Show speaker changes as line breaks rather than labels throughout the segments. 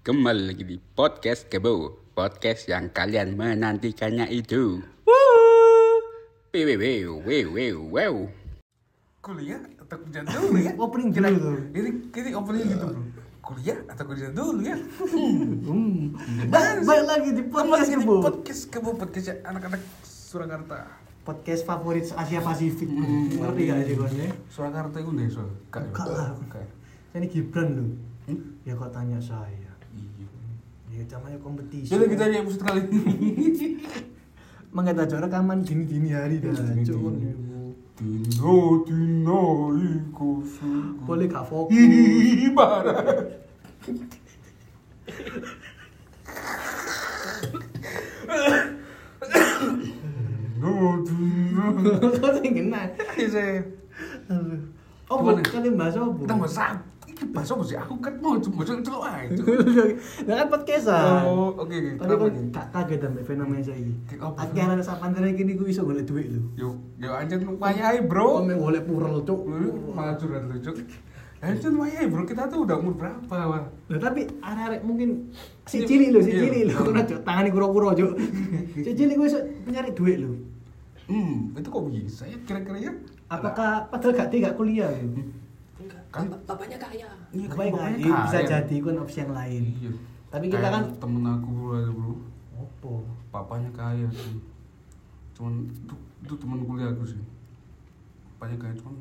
Kembali lagi di Podcast Kebo Podcast yang kalian menantikannya itu Wih, wih, wih, wih, wih, wih.
kuliah atau kerja dulu ya
opening jelek tuh.
ini ini opening gitu bro kuliah atau kerja dulu ya
Hmm. Ba- Balik lagi di podcast gitu,
Lagi di
Kebo.
podcast kebo podcastnya anak-anak Surakarta
Podcast favorit Asia Pasifik.
Hmm,
Ngerti gak sih Gon, ya?
Surakarta itu deh so kak
Enggak lah.
ya?
Saya ini Gibran loh.
Hmm?
Ya kok tanya saya.
Iya.
Ya namanya kompetisi.
jadi kita aja episode kali ini
Mengata aja rekaman gini-gini hari dah.
Iya, Gini-gini. Hmm.
Cuk, Gon, ya.
Tino Tino Iku
Boleh gak fokus?
Hibara Tino Tino
Kok sing kena.
Ini saya
Aduh. Oh,
Gimana?
kalian bahas apa?
kita bahasa ini bahasa apa sih aku kan mau cuma cuma cuma aja
Nah kan podcastan.
oh oke oke
Tapi
kenapa
kan
nih
gak kaget sampe fenomena saya ini.
Kayak apa?
Akhirnya anak sampan gini gue bisa golek duit lho.
yuk yuk aja wayai
Oh,
bro
main golek purel cuk.
Lu malah curhat lucu aja wayai bro kita tuh udah umur berapa wah
Nah, tapi arek-arek mungkin si
Iya.
cilik lho, si
Iya.
cilik lho. Ora jok tangane kura-kura juk. Si cilik kuwi iso nyari duit lho.
hmm itu kok bisa ya kira-kira ya
Apakah padahal gak tiga kuliah lho.
Enggak,
Kan-
bap- bapaknya kaya.
Iya,
Apa yang
pokoknya
jadi bisa
kaya.
jadi kan opsi yang lain.
Iya.
Tapi kita
Kayak
kan-
temen aku bro aja, bro
Opo?
papanya kaya sih cuman itu, itu teman kuliah aku sih papanya kaya cuman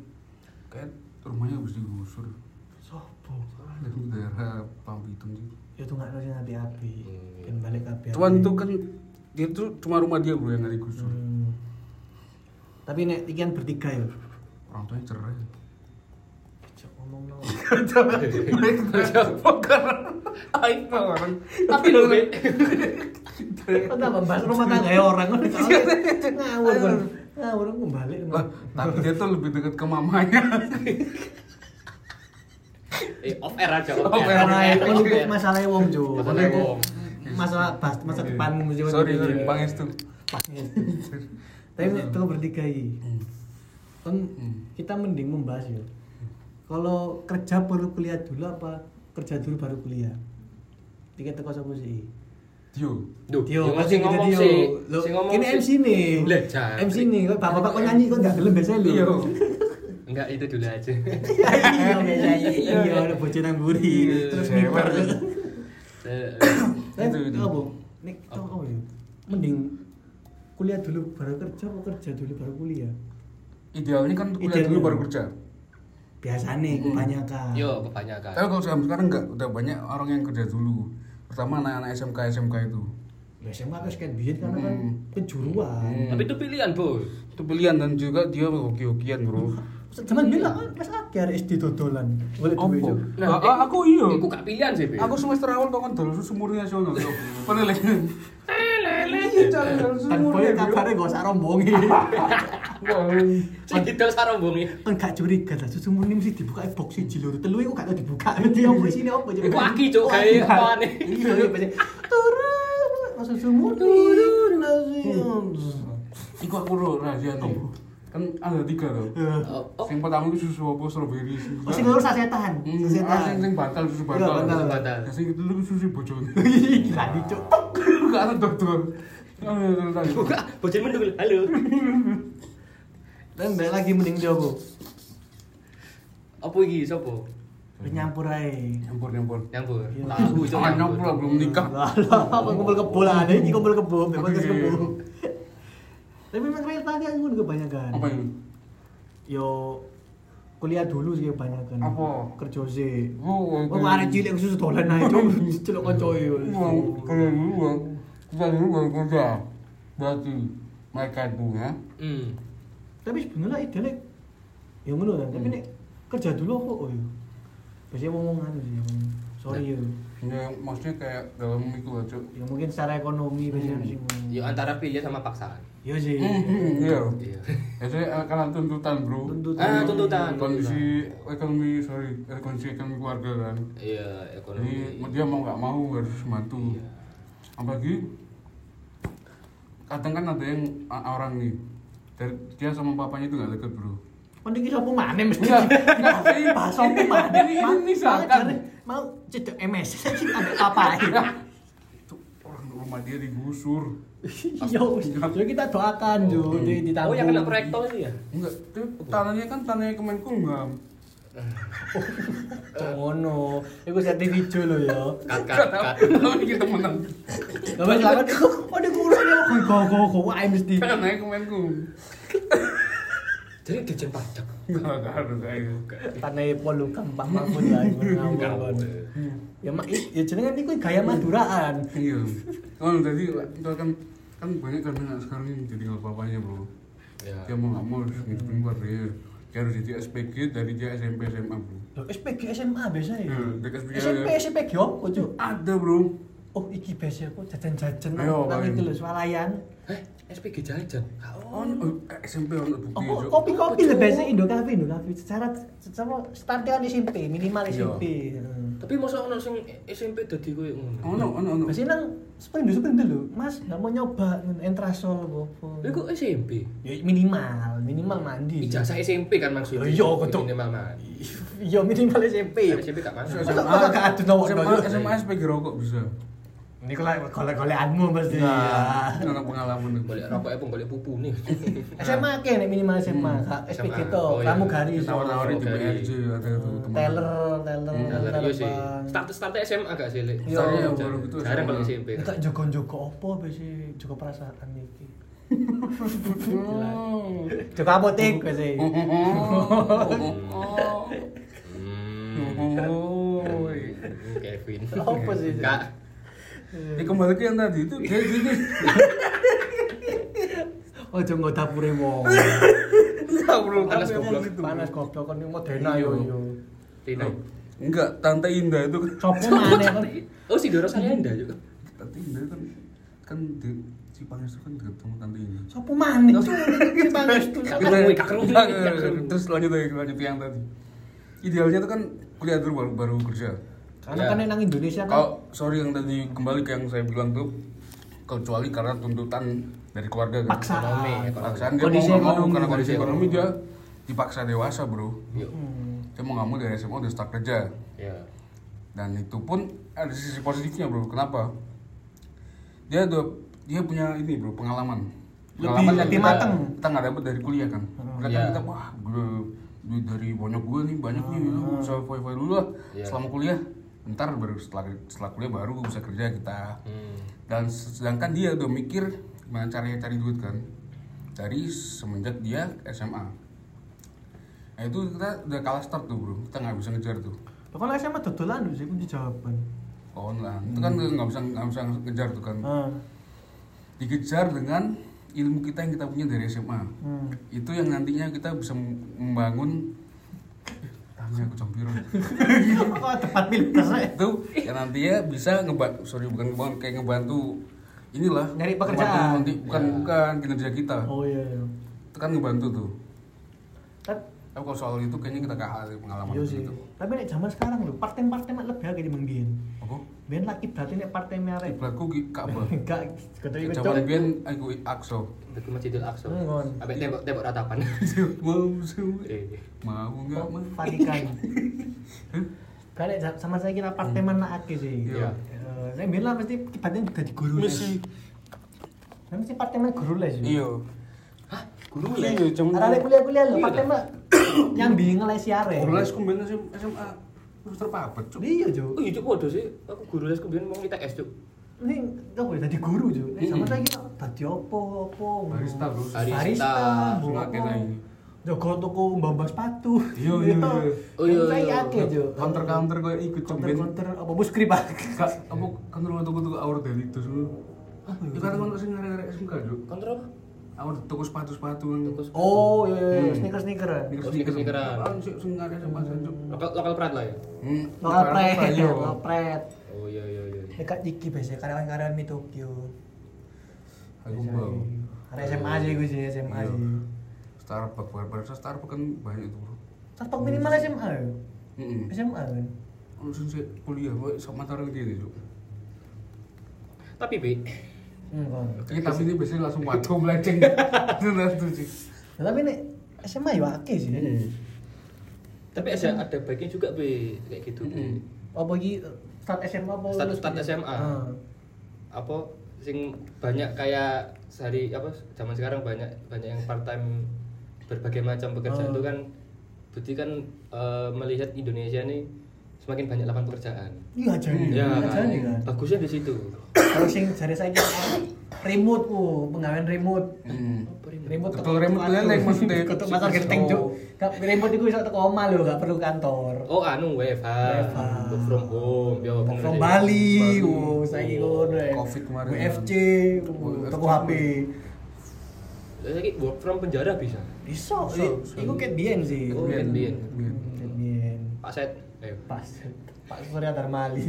kayak rumahnya habis digusur
Sopo?
dari daerah Pampitung sih
Ya tuh gak nasi nanti api.
Hmm.
Kan balik api.
Cuman tuh kan dia tuh cuma rumah dia bro yang nggak digusur.
Hmm. Tapi nek ikan bertiga ya.
Orang tuanya cerai.
Cok ngomong no.
Mereka poker. Aing mah orang.
Tapi lu, Be.
Kok tambah bahas rumah tangga ya orang kan ngawur kan. Ngawur aku balik.
Lah, tapi dia tuh lebih dekat ke mamanya.
Eh, off air aja,
Off
off
air.
air.
Karena
Oke.
itu masalah wong Jo.
Masalahnya wong. Iya.
Masalah pas masa depanmu mesti
Sorry, sorry, Bang Estu.
Pas. Tapi
Iya.
kalau bertiga ini, kan
Hmm.
kita mending membahas ya. Kalau kerja perlu kuliah dulu apa kerja dulu baru kuliah? Tiket teko sapa sih?
Tio.
Duh, yang
kan
sing
kita
ngomong
Tio.
sih.
Loh,
Sing ngomong
ini
sih.
MC nih.
Lah, jangkrik.
MC nih, kok bapak-bapak kok nyanyi kok enggak gelem
Iya.
biasanya lho.
Tio.
Enggak, itu dulu aja.
Iya, iya, biasanya. Iya, ada bocah nang buri,
Iya.
terus
Cewek.
miper.
Eh,
Tapi
Itu, itu.
apa? Nek tau apa ya? Mending kuliah dulu baru kerja apa kerja dulu baru kuliah?
Idealnya kan kuliah
Idealnya.
dulu baru kerja.
Biasanya kebanyakan.
Yo, kebanyakan.
Tapi kalau sekarang sekarang enggak, udah banyak orang yang kerja dulu. Pertama anak-anak SMK SMK itu.
Ya SMA kan sekian biyen karena kan kejuruan.
Tapi itu pilihan, Bos.
Itu pilihan dan juga dia hoki-hokian, Bro.
Cuman bilang kan pas akhir SD dodolan. Boleh duit.
Opo?
Jo.
Nah, a- Ah, aku iya.
eh, Aku gak pilihan sih, Be.
Aku semester awal kok kan dulu sumur nasional. Penelek. Iya, cari dulu
Eh, Kan
sumur.
boleh kabarnya gak usah rombongi.
Sing didol sarombonge.
Kan gak curiga lah susu murni mesti dibuka box siji lho. Telu iku gak tau dibuka. Nanti opo sini opo jadi.
Iku aki, Cuk, gawe apaan nih?
Iya, iya, pasti. Turu masuk sumur. Turu nasi. Hmm.
Iku aku ro rahasia nih. Kan ada tiga tuh.
Oh, oh,
Sing pertama itu susu apa strawberry. susu-
Masih ngurus sasetan.
Hmm, ah, sing
Sasetan.
sing bantal susu
Iya,
bantal.
bantal.
Bantal.
Nah, Sing itu lu susu bojol.
Gila nih, Cuk.
Enggak ada dokter. Ah,
buka. Bocil mendung. Halo.
Dan balik lagi mending jogo.
Apa iki sapa?
Nyampur ae.
Nyampur nyampur.
Nyampur.
Iya.
Tahu, Cuk.
Ah, nyampur lah belum nikah.
Lah, lah, apa kumpul kebo lah, ada ini kumpul kebo, memang kes kebo. Tapi memang real tadi aku udah kebanyakan.
Apa ini?
Yo kuliah dulu sih kebanyakan.
Apa?
Kerja sih.
Oh,
Oh, arek cilik khusus dolan ae, Cuk. Celuk kanca yo.
Kalau dulu gua kita dulu baru kerja. Berarti mereka itu ya.
Hmm.
Tapi sebenarnya idealnya ya ngono kan. Tapi nek kerja dulu aku oh yo. Biasanya ngomong anu sih, ngomong, sorry yo.
Ya, maksudnya kayak dalam itu aja.
Ya mungkin secara ekonomi biasanya sih. ngomong.
Yo antara pilihan sama paksaan.
Yo sih.
Iya.
Iya.
Biasanya eh, karena tuntutan bro.
Tuntutan.
Ah, tuntutan.
Kondisi ekonomi sorry, eh, kondisi ekonomi keluarga kan.
Iya,
Jadi
ekonomi.
dia mau nggak mau harus bantu.
Iya.
Apalagi kadang kan ada yang a- orang nih dari dia sama papanya itu nggak deket bro.
Mending kita apa mana mesti?
Iya.
Bahasa apa mana?
Ini- ini misalkan.
mau cedek MS sampai apa
Itu orang rumah dia digusur.
yo yo kita doakan yo di ditabung.
Oh, yang kena proyektor ini ya?
Enggak, itu tanahnya kan tanahnya Kemenkumham.
Oh, ngono iku setting hijau lo yo
Kat, kat,
Enggak
kat.
tahu, tahu kita menang.
Gak apa-apa, oh di kurus ya, go go go go, wah mesti
Tanahnya Kemenkum.
Jadi dijen pajak.
Enggak, enggak harus kayak. gitu.
tanai polu kampang mahfud lah, iku ngawur. Ya mak, ya jenengan iku gaya Maduraan.
Iya. Kalau jadi itu kan kan banyak kan anak sekarang yang jadi apa-apanya bro.
Ya.
Dia mau nggak mau harus ngidupin keluarganya. Dia harus jadi SPG dari dia SMP SMA bro.
Loh, SPG SMA biasa ya.
Iya, dek SPG
SMP
ya.
SPG opo, Cuk?
Ada bro.
Oh, iki biasa aku jajan-jajan
Ayo,
nang
Pak.
iki lho swalayan.
Eh, SPG jajan.
Oh, eh, SMP ono bukti
Oh,
Cok.
kopi-kopi lho biasa Indo Cafe, Indo Cafe. Secara secara startnya kan SMP, minimal
Iya.
SMP. Heeh.
Tapi masa ono sing SMP dadi koyo ngono.
Ono ono ono.
Biasanya nang sprint sprint lho, Mas, nggak mau nyoba nang entrasol opo.
Lha kok SMP?
Iya.
Ya minimal, minimal mandi.
Ijazah SMP kan maksudnya.
Iya, kudu.
Ini mama.
Iya minimal SMP.
SMP gak
Iya,
mana?
Masa kok gak ada nomor
SMA,
dong?
SMA SPG rokok bisa.
Ini kalau golek-golekanmu pasti.
Nah, ono pengalaman
Golek rokoknya pun golek pupu nih.
Iya,
SMA ke nek minimal SMA, Kak.
SMA.
SPG to,
Oh, iya.
kamu garis.
Tawar-tawarin di
Oke.
BRJ ada tuh teman.
Hmm. Teller, teller,
Jalan
teller.
Hmm, iya sih.
bang.
Startnya startnya SMA gak sih, Lek?
Iya.
Iya,
Startnya jarang-
baru gitu
Jarang
SMA.
kalau SMP.
Ini
kan.
Kak jogo-jogo apa biasa? Jogo perasaan iki.
Oh.
Jogo apotek biasa.
Oh, oh, oh.
Hmm.
Oh, oh, oh.
Kevin.
Apa sih?
Kak.
Ya kembali ke yang tadi itu dia gini.
Oh, jogo dapure wong.
Enggak bro,
Hmm. Panas
tapi emang
goblok.
gitu, bro.
Panas goblok kon mau dena yo
Iya.
yo.
Tina.
Loh, Oh, Enggak, Tante Indah itu kan
Sopo maneh kon?
Oh, si Dora Salienda juga.
Tante Indah kan kan di si Pangestu kan deket sama Tante Indah.
Sopo maneh? Si pangestu.
Kakak gue, kakak gue.
Enggak, enggak, enggak. Terus lanjut lagi lanjut yang tadi. Idealnya itu kan kuliah dulu baru baru kerja.
Karena kan nang Indonesia kan
Kalau sorry yang tadi kembali ke yang saya bilang tuh kecuali karena tuntutan dari keluarga kan.
Paksaan.
Ekonomi, Paksaan dia
Kondisi
mau nggak mau
ekonomi,
karena
kondisi
kondisi ekonomi dia dipaksa dewasa bro.
Yuk.
Dia mau nggak mau dari SMA udah start kerja.
Ya.
dan itu pun ada sisi positifnya bro kenapa dia ada dia punya ini bro pengalaman
Lebih-
pengalaman yang
lebih
kita-
mateng. Hmm.
kita nggak dapat dari kuliah kan Kadang
Iya.
kita wah gue duit dari banyak gue nih banyak nih gitu
Hmm.
bisa foy foy dulu lah
Iya.
selama kuliah ntar baru setelah setelah kuliah baru gue bisa kerja kita
Hmm.
dan sedangkan dia udah mikir gimana caranya cari duit kan dari semenjak dia SMA nah itu kita udah kalah start tuh bro kita nggak bisa ngejar tuh
Pokoknya SMA dodolan lho sih kunci jawaban.
Pohon lah, itu kan
Hmm.
nggak bisa nggak bisa ngejar tuh
Hmm.
kan.
Heeh.
Dikejar dengan ilmu kita yang kita punya dari SMA.
Hmm.
Itu yang nantinya kita bisa mem- membangun. Tanya aku campuran.
Kok tepat filter ya?
itu yang nantinya bisa ngebantu, sorry bukan ngebantu, kayak ngebantu inilah.
Nyari
ngebantu
pekerjaan.
nanti bukan
Ya.
bukan kinerja kita.
Oh iya. iya.
Itu kan ngebantu tuh.
Tapi
Tapi kalau soal itu kayaknya kita kalah dari pengalaman
yo Iya sih.
gitu.
Tapi nek zaman sekarang lho, part-time-part-time mak lebih akeh timbang biyen.
Apa?
Biyen lagi berarti nek part-time arek
Kiblatku ki- Ka'bah.
enggak ketemu itu.
Jawaban biyen aku akso.
Dekat Masjidil Aqsa.
Ngon.
Sampai tembok tembok ratapan.
Mau sewe.
Eh.
Mau nggak mau?
Vatikan. Kan nek jam- sama saya kira
Hmm.
part-time anak akeh sih.
Iya.
Eh, Nek biyen lah mesti kibatnya juga di guru les.
Mesti.
Nek mesti part-time guru les. yo.
Iya.
Hah? Guru
Iya,
les?
jam-
Arek kuliah-kuliah lho,
Iya,
part-time nyambi ngelesi arek.
Guru les kumben SM- SMA terus terpapet cuk.
Iya, Jo.
Oh, iya Cuk, podo sih. Aku guru les kemudian mau ITS, Cuk.
Ini kok boleh jadi guru juga. Eh, sama saya kita tadi apa apa.
Barista, bro.
Barista.
Barista. bro,
Suka
apa.
kita ini.
Jaga toko mbak sepatu. Gitu.
Iya, iya, iya.
Oh, iya,
Saya
iya.
akeh, Jo.
Counter counter gue ikut cuk
counter
ben.
counter apa bus krip ah.
Kak, apa counter waktu tuku aur dari itu dulu. Itu kan kan sing ngarep SMK cuk.
Kontrol apa?
Aur tuku sepatu-sepatu.
Toko sekolah.
Oh, iya, iya, iya.
Hmm.
sneaker sneaker.
Oh, sneaker-sneakeran.
Apaan sih sing ngarep SMA cuk.
Lokal lokal prat lah ya.
Hmm,
Lokal
sekarang
pret,
apa, iya. yo?
lokal pret.
Oh iya iya iya.
Dekat iki biasanya karyawan-karyawan di Tokyo.
Aku bau.
Ada SMA aja gue sih, ya, SMA
Iya.
aja.
Starbucks, barista Starbucks kan banyak tuh bro.
Stok minimal SMA ya?
Heeh.
SMA kan?
Lu sih kuliah, gue sama taruh dia cuk.
Tapi Bi,
Enggak.
Ini tapi ini biasanya langsung waduh meledeng. Benar tuh sih.
Ya, tapi nek
Iya,
SMA ya akeh sih.
Hmm. tapi ada ada baiknya juga Bi kayak gitu.
Mm-mm.
Bi.
apa iki eh, start SMA apa
status
lulus
status
kuliah?
SMA
Ah.
apa sing banyak kayak sehari apa zaman sekarang banyak banyak yang part time berbagai macam pekerjaan
Ah.
itu kan berarti kan eh, melihat Indonesia nih semakin banyak lapangan pekerjaan
iya aja nih
ya
aja nih
kan?
kan
bagusnya di situ
kalau sing jare saya remote oh penggawean remote
Hmm.
remote
Betul, remote leleng, maksudnya.
ketuk pasar genteng cuk Gak- remote itu bisa teko omah lho gak perlu kantor
oh anu WFH
WFH.
work from home ya
Work
bener
from
sih.
Bali,
Bali.
oh, saiki ngono ya.
Covid kemarin.
WFC, oh,
WFC.
toko HP.
Lah, saiki work from penjara bisa
Bisa, i- iku ket biyen sih.
Oh,
Ket
ket biyen. Hmm.
Biyen.
Ket biyen.
Pak Set ayo
Pas Pak Surya Darmali.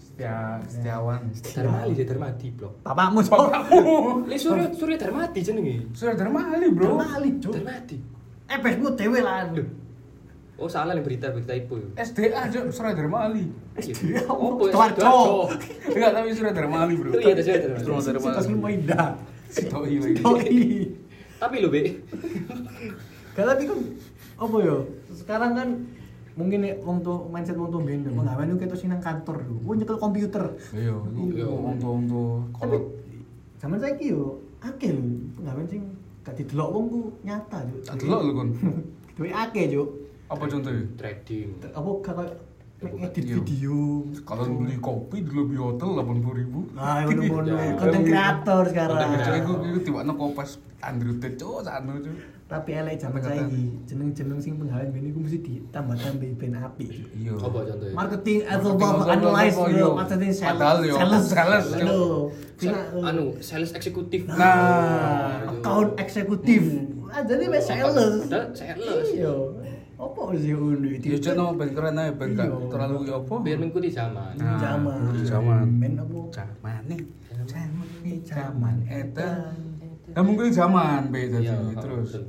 Setia,
Ya.
Setiawan.
Iya.
Darmali sih Darmati blok
Bapakmu, bapakmu.
Li Surya Surya Darmati jenenge
Sudah Dharma Ali, Bro.
Darmali, Cuk.
Darmati
Eh, besmu dhewe lah.
Loh. oh salah nih berita berita itu
SDA, Cuk. Surah Dharma Ali.
SDA,
Apa, ya,
Sidoarjo.
Sidoarjo.
Enggak, tapi Surah Dharma Ali, Bro.
Itu iya, itu Surya Dharma Ali.
Surah Dharma
Situs
Ali. iya,
Ilmu Indah.
Doi, woi.
Doi.
tapi lo be
Gak tapi kan apa ya? Sekarang kan mungkin nek wong tuh mindset wong tuh ben pengawen yo ketok sing nang kantor lho. Ku nyekel komputer.
Iya, itu untuk-untuk
Tapi
kolot.
zaman saiki yo akeh lho pengawen sing gak didelok wong ku nyata yo.
Tak delok lho, Kon.
Duwe akeh yo.
Apa contohnya?
trading
Apa gak koyo nek edit
Iya.
video.
Kalau beli kopi di lebih hotel 80 ribu. Ya.
Ah, ngono-ngono. Konten kreator sekarang.
Konten kreator.
Itu itu tiba nang kopas Andrew Tate cowok sana cowok.
Tapi elek zaman
Konten kreator.
saiki jeneng-jeneng sing pengawen ben iku mesti ditambah-tambah ben apik. Cuk.
Iya.
apa contohnya
marketing as a
Marketing
whole
as a
analyze
whole,
bro
yo.
marketing sales
Padahal yo,
sales
sales, yo.
Yo.
Sa-
Cina, eh,
anu sales eksekutif iya.
Nah,
account eksekutif
Hmm.
ah jadi wes sales
Padahal sales.
iya apa sih undu itu
Iya cowok no ben keren aja ben gak
Iya.
terlalu ya apa.
biar mengikuti zaman
Nah,
zaman
di zaman.
men apa
Zaman nih.
zaman ini zaman eta
Eta. Ya mungkin zaman be tadi
Iya,
terus.
betul.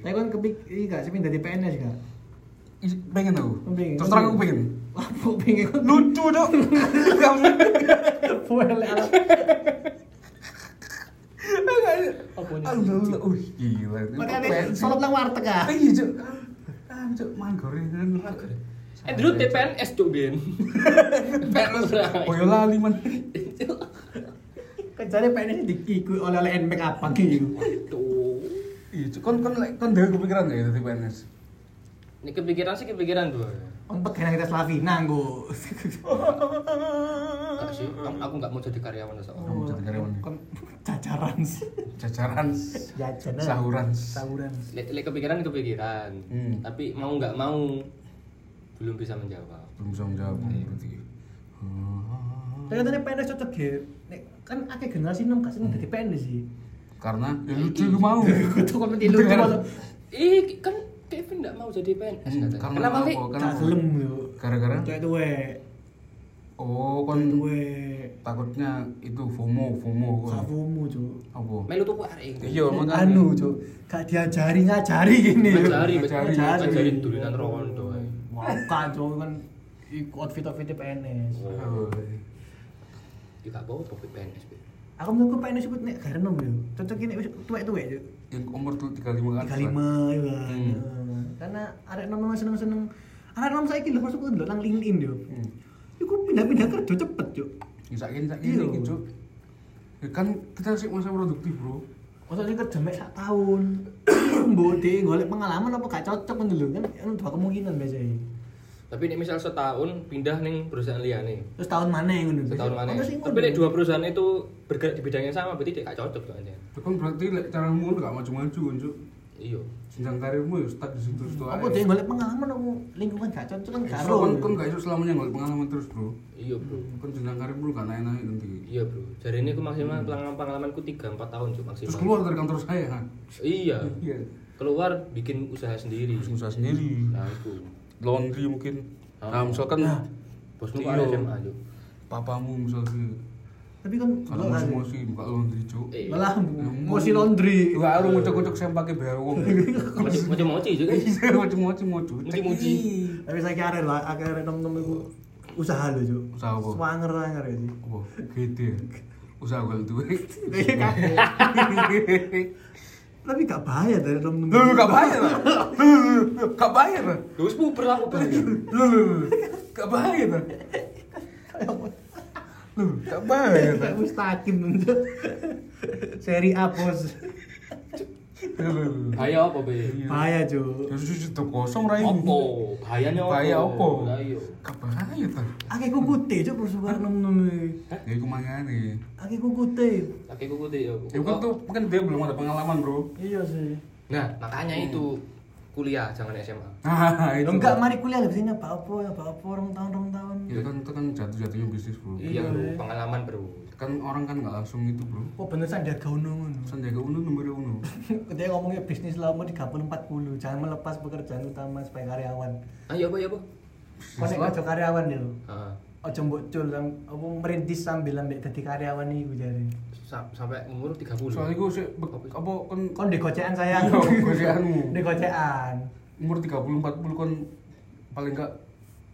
tapi kan kepik iya gak sih pindah di PNS gak
Ih, pengen aku.
Pengen.
Terus terang aku pengen.
apa pengen kan
Lucu dong. Kamu
boleh
Apa ini?
Aduh, uh gila. Ini
makanya
pensi.
sholat nang warteg ah
Iya cok. Ah cok manggore. Manggore.
eh dulu TPNS tuh Ben TPNS
Boyo lali man.
kejarnya PNS dikikui oleh oleh NPK apa gitu
tuh
Iya cok kon kon lek- kon dhewe kepikiran gak ya dadi PNS?
ini kepikiran sih kepikiran tuh
Empet kena kita Slavina nggo.
Enggak sih, aku aku nggak mau jadi karyawan so.
Kamu jadi karyawan.
Oh, Kon cacaran sih.
Jajaran.
Jajanan.
Sahuran.
Sahuran.
Lek lek kepikiran kepikiran,
Hmm.
tapi mau nggak mau belum bisa menjawab.
Belum bisa menjawab berarti. Ah.
Kelihatannya PNS cocok ya. Nek kan akeh generasi enam kasih jadi PNS sih.
Karena ya lucu lu mau.
Itu kan mesti lucu
Bener.
kalau
Ih, kan Kevin nggak mau jadi PNS
Hmm,
katanya.
karena
Kenapa
apa?
sih?
gak gelem yo.
Gara-gara
Tuwek tuwe,
oh
tuwek
kon
tuwe.
takutnya itu FOMO FOMO kan
Savumu cuk.
apa
Melu tuku arek.
iya makanya
Anu cuk, gak diajari ngajari
Iya,
gini.
Ngajari,
Ngajari.
ngajari. Ngajari dolanan rondo. ae.
Wah, kan cuk kan ikut outfit-outfit PNS.
Oh.
Ya gak apa-apa kok PNS. Be.
Aku menurutku PNS sebut nek gak renom yo. Cocok ini tuwek-tuwek yo.
yang iya, umur tuh tiga lima
tiga lima ya kan Eh, karena arek nom memang seneng seneng arek nom saya kilo masuk dulu nang LinkedIn yo Iku pindah-pindah kerja cepet yo
sakin sakin
Iya.
gitu ya kan kita sih masa produktif bro
masa sih kerja mek sak tahun mbok de golek pengalaman apa gak cocok kan dulu kan kan dua kemungkinan biasanya
Tapi nek misal setahun pindah ning perusahaan liyane.
terus tahun mana yang ngono
Setahun mana?
Ono sing
Tapi nek dua perusahaan itu bergerak di bidang yang sama berarti dia gak cocok tuh aja.
ya kan berarti like, cara mu gak maju maju kan cuk
Iya.
jenjang karirmu ya stuck di situ situ
apa de golek pengalaman apa lingkungan gak cocok kan gak
so,
ro
kan kan gak iso selamanya nggak pengalaman terus bro
Iya, Bro.
kan jenjang karirmu gak naik naik nanti
Iya, Bro. Jadi ini aku maksimal pengalaman pengalamanku 3 4 tahun cuk maksimal.
Hmm. terus keluar dari kantor saya kan
Iya.
iya
Keluar bikin usaha sendiri.
terus usaha sendiri
Nah, itu.
laundry mungkin nah
Ah.
misalkan
Bosmu
Iya.
kan SMA cuk.
papamu misalnya
tapi kan
kalau musim musim buka laundry cuk
Eh,
lelah mosi laundry
Gak harus ngucuk-ngucuk saya pakai bayar uang.
macam-macam juga.
Iya. Ngucuk-ngucuk.
Muji-muji.
tapi saya kira lah akhirnya nom-nom iku usaha lho cuk
Usaha apa?
swanger swanger ya sih
Wah, gede. Usaha gue tuh.
Iya, kan? tapi gak bahaya dari rom
Lu lu gak bahaya lah. Lu lu lu gak bahaya lah.
Lu wis puber lah puber.
Lu lu lu gak bahaya lah. Lu gak bahaya lah.
mustaqim untuk seri A bos
Lu lu lu. Ya,
Bahaya apa be?
bahaya cuy
Terus itu kosong rai.
Apa? Bahayanya apa?
Bahaya apa?
Lah iya.
Gak bahaya ta.
Ake ku kute cuy persebar nom nom
Ya iku mangane.
Ake ku kute
Laki kuku tuh ya.
Ya kan tuh kan dia belum ada pengalaman, Bro.
iya sih
Nah, makanya itu kuliah jangan SMA.
Nah, itu.
enggak mari kuliah lebih sini apa apa apa apa orang tahun orang tahun
Ya kan itu kan jatuh-jatuhnya bisnis, Bro.
Iya, bro. pengalaman bro.
Kan orang kan gak langsung itu, Bro.
kok Oh, bener sadar kau nongon
Sandiaga Uno nomor uno.
Dia ngomongnya bisnis lah umur 30-40 Jangan melepas pekerjaan utama sebagai karyawan
Ayo apa ya apa?
Kau nek kerja karyawan ya lo
Ah,
Ojo mbok cul sam- apa merintis sambil ambek dadi karyawan iku jare.
sa- sampai umur 30.
Soalnya gue sih, be- apa kan
Kon di gocekan sayang.
Iya, gocekanmu.
Di gocekan.
umur 30 40 kan paling enggak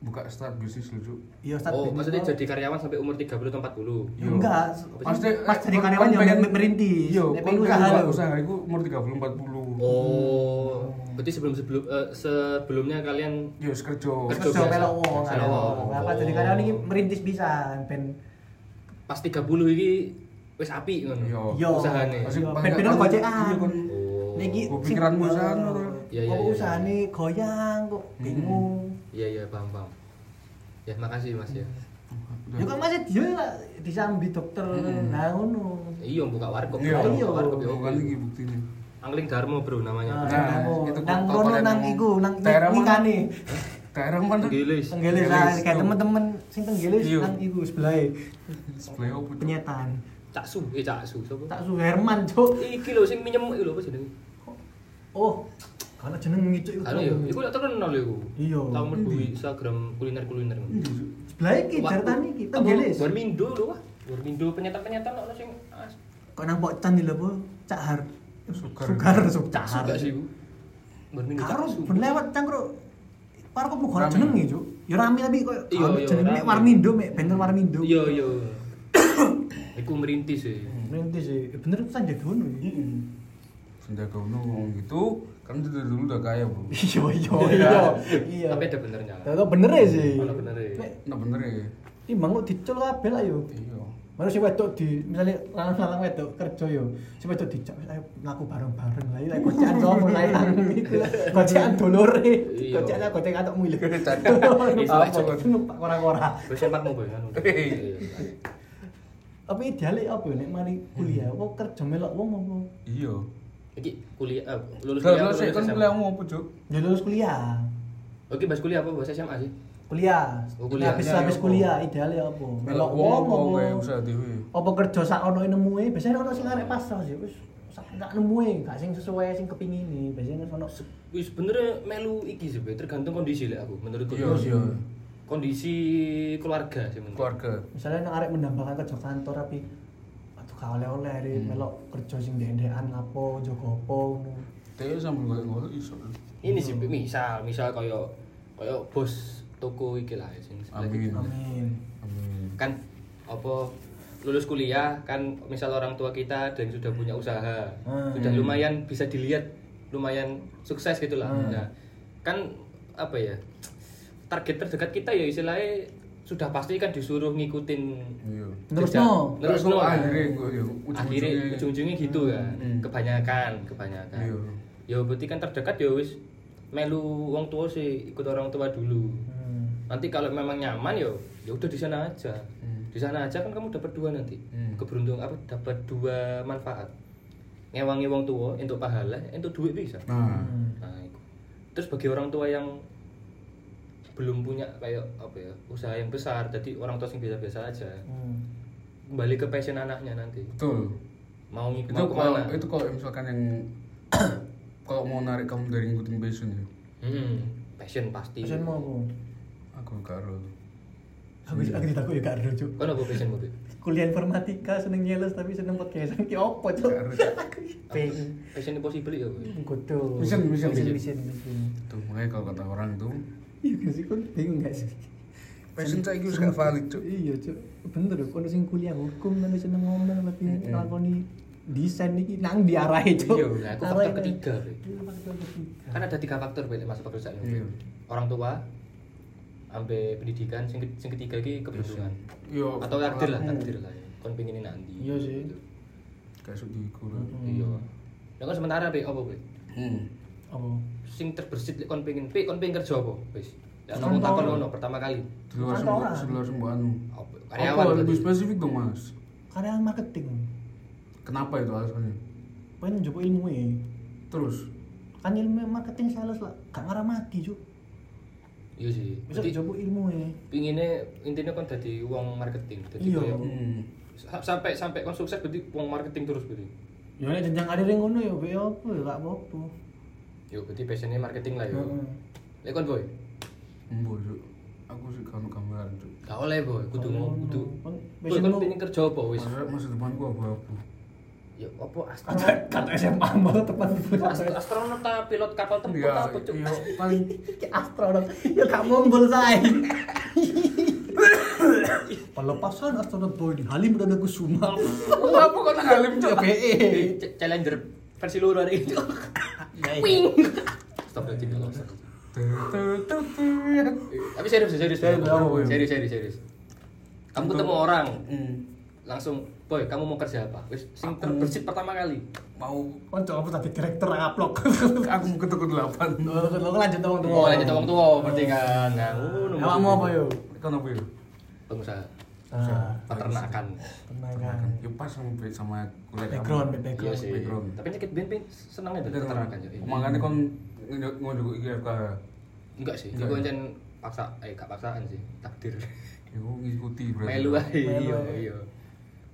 buka start bisnis lu, Cuk.
Iya, Ustaz.
Oh,
bisnis
maksudnya
kok.
jadi karyawan sampai umur 30
Iya.
atau 40.
Ya, Enggak,
Maksudnya,
pas
eh,
jadi
kon-
karyawan
kon
ya
pengen-
merintis.
Iya, kan
Nek pengen
usaha lu.
usaha lo.
Usaha iku umur 30 40.
Oh, berarti sebelum sebelum eh, sebelumnya kalian
Yo, Iya, kerja.
Kerja.
Kerja
biasa.
pelok wong.
Kerja wong.
Apa jadi
Oh.
karyawan ini merintis bisa ben
pas 30 ini wis api ngono.
Iya.
Yo,
Usahane.
yo,
Masih
Ben ben
banyak-
gocekan. Ya
Iya, kon.
Oh.
Niki
Gua pikiranmu
sing-
sana,
oh,
Bro.
Iya, iya,
apa
iya.
usahane goyang kok
Hmm.
bingung.
Iya iya paham paham. Ya makasih Mas ya.
Udah.
Ya kok masih dia lah disambi dokter.
Hmm.
Nah ngono.
Iya buka warkop.
Iya.
Buka
Iya.
warkop ya.
Yo, kan iki buktinya.
Angling Darmo bro namanya.
Nah,
Nah,
itu
nang
kok
kono
kalian
nang
ngomong.
iku nang
Daerah mana?
nikane.
Daerah mana?
Tenggelis
Tenggelis.
Tenggelis,
lah, kayak
tuh.
temen-temen sing tenggelis
Iya.
nang iku sebelah
Display opo, Cuk?
penyetan.
Cak Su, eh Cak Su. Sapa?
Tak su Herman, Cuk.
Iki lho sing minjem iki lho apa jenenge?
Oh, karena jeneng ngicuk iku.
Halo ya, iku lek terkenal iku.
Iya.
Tau merdu Instagram kuliner-kuliner.
Sebelah iki ceritane iki tenggelis.
Warmindo lho wah. Warmindo penyetan-penyetan lho sing as-
Kok nang pocan lho, Bu? Cak Har.
Sugar.
Sugar, Sugar. Cak Har.
Suka sih iku. Warmindo Cak
Karo
Su.
ben lewat cangkruk. Parko bu
Rame.
jeneng jenenge, Cuk. Ya rame tapi kok
Iya,
ana
iya,
jenenge mek
rame.
Warmindo mek bener Warmindo.
Iya iya. Iku merintis sih.
Nanti sih, eh, bener pesan jadi ngono. ya?
Sandiaga Uno ngomong gitu, kan dia dari dulu udah kaya, Bro.
Iya, iya,
Iya.
iya. Iya.
Tapi ada benernya. lah.
Tapi bener ya sih.
Ono bener ya.
Nek
Nah bener ya.
timbang kok dicul kabeh lah yo.
Iya.
Mana sih wedok di misalnya lanang-lanang wedok kerja yo. Si wedok dicak wis ayo ngaku bareng-bareng lah iki kocekan sopo lah iki iku lah. Kocekan dolore.
Iya.
Kocekan aku kocekan atokmu lho.
Kocekan.
Apa?
Numpak ora-ora.
Wis empatmu boy anu.
Hei.
Tapi ideale apa yo nek mari kuliah apa kerja melok wong apa?
Iya.
Iki kuliah eh, lulus
Lah
kuliah.
lah
apa
sih, kan
SMA?
kuliah mau apa, Cuk?
Ya lulus kuliah.
Oke, bahas kuliah apa bahas SMA sih?
Kuliah.
Oh, kuliah.
Habis
Kuliah Iya,
habis
apa?
kuliah ideale apa?
Melok wong apa wae usaha dhewe.
apa kerja sak ono nemuwe biasanya ono sing arek pasrah sih wis sak gak nemuwe gak sing sesuai sing kepingine biasanya ono
Wis bener melu iki sih, Be. tergantung kondisi lek aku menurutku.
Iya, iya.
Kondisi keluarga sih menurut.
Keluarga.
misalnya nang arek mendambakan kerja kantor tapi aduh gak oleh-oleh Rin.
Hmm.
melok kerja sing dendean apa jaga apa ngono
Dia sambil golek-golek iso.
Ini
Hmm.
sih Be. misal, misal koyo koyo bos toko iki lah sing sebelah
Amin.
iki.
amin
Amin.
Kan apa lulus kuliah kan misal orang tua kita ada yang sudah punya usaha,
Hmm.
sudah lumayan bisa dilihat lumayan sukses gitu lah.
Hmm.
Nah, kan apa ya? Target terdekat kita ya istilahnya sudah pasti kan disuruh ngikutin
Iya.
terus
Jejak.
no
Terus no.
akhirnya gue ya,
akhirnya
ujung-ujungnya.
ujung-ujungnya gitu kan kebanyakan kebanyakan
Iya.
ya berarti kan terdekat ya wis melu wong tua sih ikut orang tua dulu
Hmm.
nanti kalau memang nyaman ya ya udah di sana aja di sana aja kan kamu dapat dua nanti
Hmm.
keberuntungan apa dapat dua manfaat ngewangi wong tua untuk pahala untuk duit bisa
Nah,
Hmm.
Nah, itu. Terus bagi orang tua yang belum punya kayak apa ya usaha yang besar, jadi orang tua yang biasa-biasa aja
Hmm.
kembali ke passion anaknya nanti
betul.
mau ngikut
Itu
mau
kalau
kemana?
itu kalau misalkan yang kalau mau narik kamu dari ngikutin passion ya,
Hmm, passion pasti.
passion
Iya.
mau apa
aku karo.
aku aku ditakut ya gak ada cuk
Kau nopo Kan passion mobil?
kuliah informatika seneng nyeles tapi seneng podcastan ki opo cuk
Gak ada.
pengen
Passion impossible ya. Bu?
kudu
Mission, mission,
mission
mission.
mission mission.
Tuh, makanya kalau kata orang tuh
iya gak sih kon bingung gak sih
passion saya itu gak valid, Cuk.
iya cuk bener loh kono sing kuliah hukum kan seneng ngomong tapi ngelakoni desain iki nang diarahi cuk.
Iya, nah, aku faktor
Arahin.
ketiga, Bre.
Iya, faktor ketiga.
kan ada tiga faktor balik masuk pekerjaan
Iya.
orang tua ambil pendidikan sing, ke- sing ketiga ini keberuntungan
Yo,
atau takdir lah takdir lah ya. kon pingin ini nanti Gitu.
Iya sih.
Kasut di kurang.
iya nah kan sementara be apa be
Hmm.
Apa?
sing terbersit lek kon pingin pe kon pingin kerja apa wis ya aku takon ngono pertama kali
Di luar semua, di luar sembahanmu.
Apa- karyawan
Apa
berarti.
lebih spesifik dong mas?
Karena marketing.
Kenapa itu alasannya?
Pengen njopo ilmu e.
Terus,
Kan ilmu marketing sales lah, gak ngarah mati cuk.
iya sih
Bisa
berarti
njopo ilmu e.
pinginnya intinya kon jadi uang marketing jadi
Iya.
kayak-
hmm.
sa- sampai sampai kon sukses berarti uang marketing terus berarti
Ya nek jenjang karir ngono ya be apa ya gak apa-apa.
yo berarti passionnya marketing lah yo
Heeh.
lek kon boy
Mbok, Cuk. aku sih kamu gambaran tuh.
gak oleh boy kudu mau kudu
Kon
Boy,
passionmu-
kon pingin kerja apa wis
Masa masa depanku apa apa?
ya apa astronot
Kata kata SMA malah tepat
Ast- astronot ta pilot kapal tempur ta apa cuk
iya paling
Ki astronot ya gak mumbul saya pelepasan astronot boy di Halim Perdana Kusuma
Wah, apa kau ngalim
ya
E.
BE
C- challenger versi luar hari itu stop nanti kalau tapi serius serius
Serius, apa, Boy?
serius serius serius serius kamu ketemu orang hmm, langsung boy kamu mau kerja apa wis sing terbersit pertama kali
Mau
kan coba tadi direktur aplok
aku mau ketukun delapan.
lo lanjut dong tuh
oh lanjut wong tua berarti kan nah ngono
awak mau apa yuk
Kan apa ya?
pengusaha
ah
peternakan Hmm.
tenaga
Ya pas sama sama kuliah kamu.
background
iya
background
sih
Background.
tapi nyekit ben ping seneng itu peternakan Cuk.
Makanya kon ngunduk IFK.
enggak sih
Enggak,
gue kan paksa eh gak paksaan sih takdir
Ya aku ngikuti berarti.
melu ah. ae
Melu
iya
ae.
iya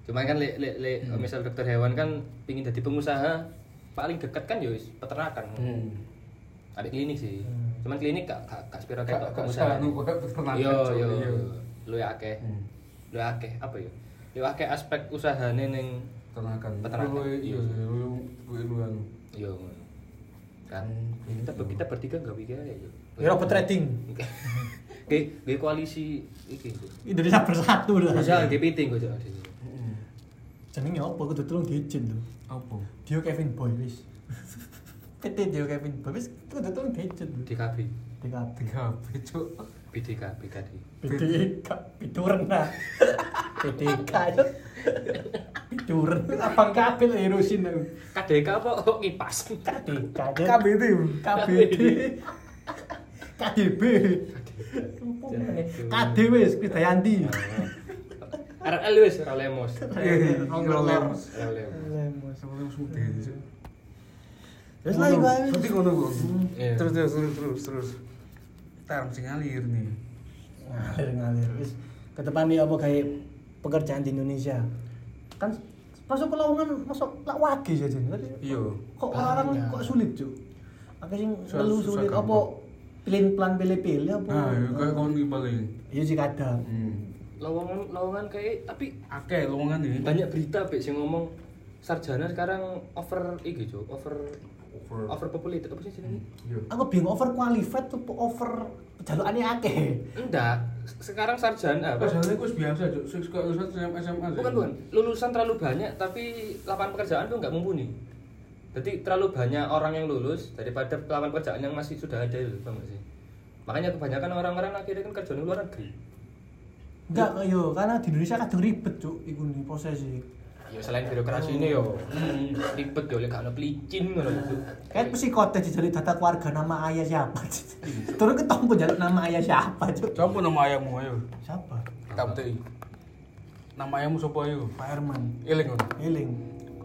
cuman kan lek lek lek
Hmm.
misal dokter hewan kan pingin jadi pengusaha paling dekat kan ya wis peternakan
Hmm.
ada klinik sih cuman klinik gak gak gak spiro ketok
Kak
pengusaha
Sanu, kak peternakan.
iya
Cuk.
iya
Iya.
lu akeh
Hmm.
lu akeh apa ya lu akeh aspek usahane ning
Peternakan.
Peternakan.
Lu- Iya, lu lu lu anu.
iya ngono kan
Hmm, klinik
kita kita bertiga gak pikir ya
ya robot trading
Oke, gue koalisi iki.
Indonesia bersatu lah
Misal GPT gue jadi. Hmm.
Mm-mm.
jenengnya apa aku tolong diizin tuh
Apa?
Dio Kevin Boy wis PT Dio Kevin Boy wis kudu tolong diizin tuh
DKB,
DKB
Tiga apa, Cuk?
BDK, BKD.
PDK, piduren lah. PDK itu. Piduren, abang kabel erusin aku.
KDK apa kok ngipas?
KDK aja.
KBT.
KBD. KDB. Apa meneh? KDW, Kridayanti.
RL wis ora lemos.
Iya, iya, kalau lemos.
Ora lemos.
Sama lemos muda, Cuk.
Terus lagi
Ngono.
guys.
Berarti ngono, Bu.
Iya.
Terus terus terus terus terus. Tar mesti ngalir nih.
Ngalir ngalir. Wis ke depan nih apa kayak pekerjaan di Indonesia. Kan masuk ke lawangan masuk lak wage saja. Tapi
Iya.
kok orang-orang kok sulit cuk akhirnya
Susah-
perlu
susah
sulit
gampang.
apa pilih pelan pilih pilih apa
Nah, ya, kayak kon iki paling.
iya sih kadang
Hmm.
Lowongan lowongan kayak tapi
Akeh lowongan iki.
banyak berita Pak sing ngomong sarjana sekarang over iki, Cuk. Over
Over.
over populated apa sih jenenge?
Iya.
aku bingung over qualified tuh over jalukannya akeh
Enggak, se- sekarang sarjana apa?
Pasalnya aku biasa, Cuk. Sik kok lulusan SMA SMA. Cuk.
Bukan, bukan. kan Lulusan terlalu banyak tapi lapangan pekerjaan tuh nggak mumpuni. Jadi terlalu banyak orang yang lulus daripada lapangan pekerjaan yang masih sudah ada loh, paham nggak sih? Makanya kebanyakan orang-orang akhirnya kan kerja di luar negeri.
enggak
Iya.
yo karena di Indonesia kadang ribet cuk iku nih prosesnya
Ya selain birokrasi ini yo Hmm, ribet yo lek gak ono pelicin ngono lho.
kayak psikotes di jalur data keluarga nama ayah siapa
Iya.
terus ketemu jalur nama ayah siapa cuk
Siapa nama ayammu ayo?
siapa
Kita beti. Nama ayammu sapa ayo?
Pak Herman
Eling ngono.
Eling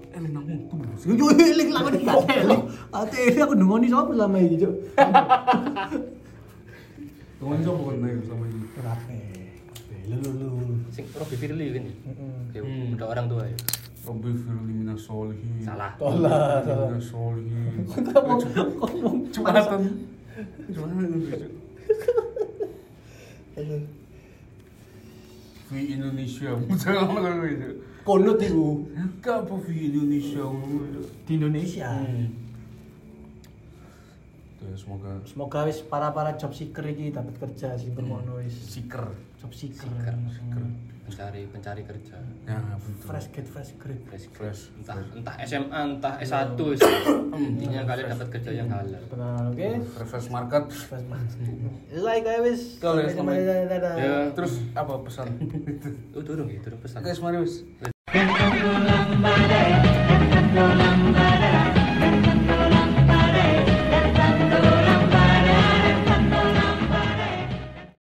Eling nang mutu.
Yo yo eling lah kok dikate eling. Ate eling aku ndungoni sapa selama iki, Cuk.
Temen sapa kon ayo sama ini?
Rapi. Lu lu lu.
Sing Robi Firly kan ya.
Mm-mm.
Ya udah orang tua ya.
Rabbi firli minas solihin.
Salah.
Tolah, tolah.
Minas solihin.
Ngomong ngomong
Eh, Cuma nonton. Cuma nonton. Di Indonesia, jangan ngomong itu.
konut iku
Enggak apa di Indonesia.
Hmm. di Indonesia.
Hmm. ya semoga
Semoga wis para-para job seeker iki dapat kerja sih bermono wis
seeker
job Hmm. seeker. Hmm.
pencari pencari kerja
nah betul
Fresh grade, fresh grade.
fresh Iya.
Fresh,
entah entah SMA entah S1 sih. intinya kalian dapat kerja yang halal
Benar, oke.
refresh market
Fresh banget. Like guys, wis.
Kalau ya,
Sampai
sampai-
jumpa. Dadah.
ya terus
terus apa pesan
oh turun ya turun pesan
guys mari wis
Thank you.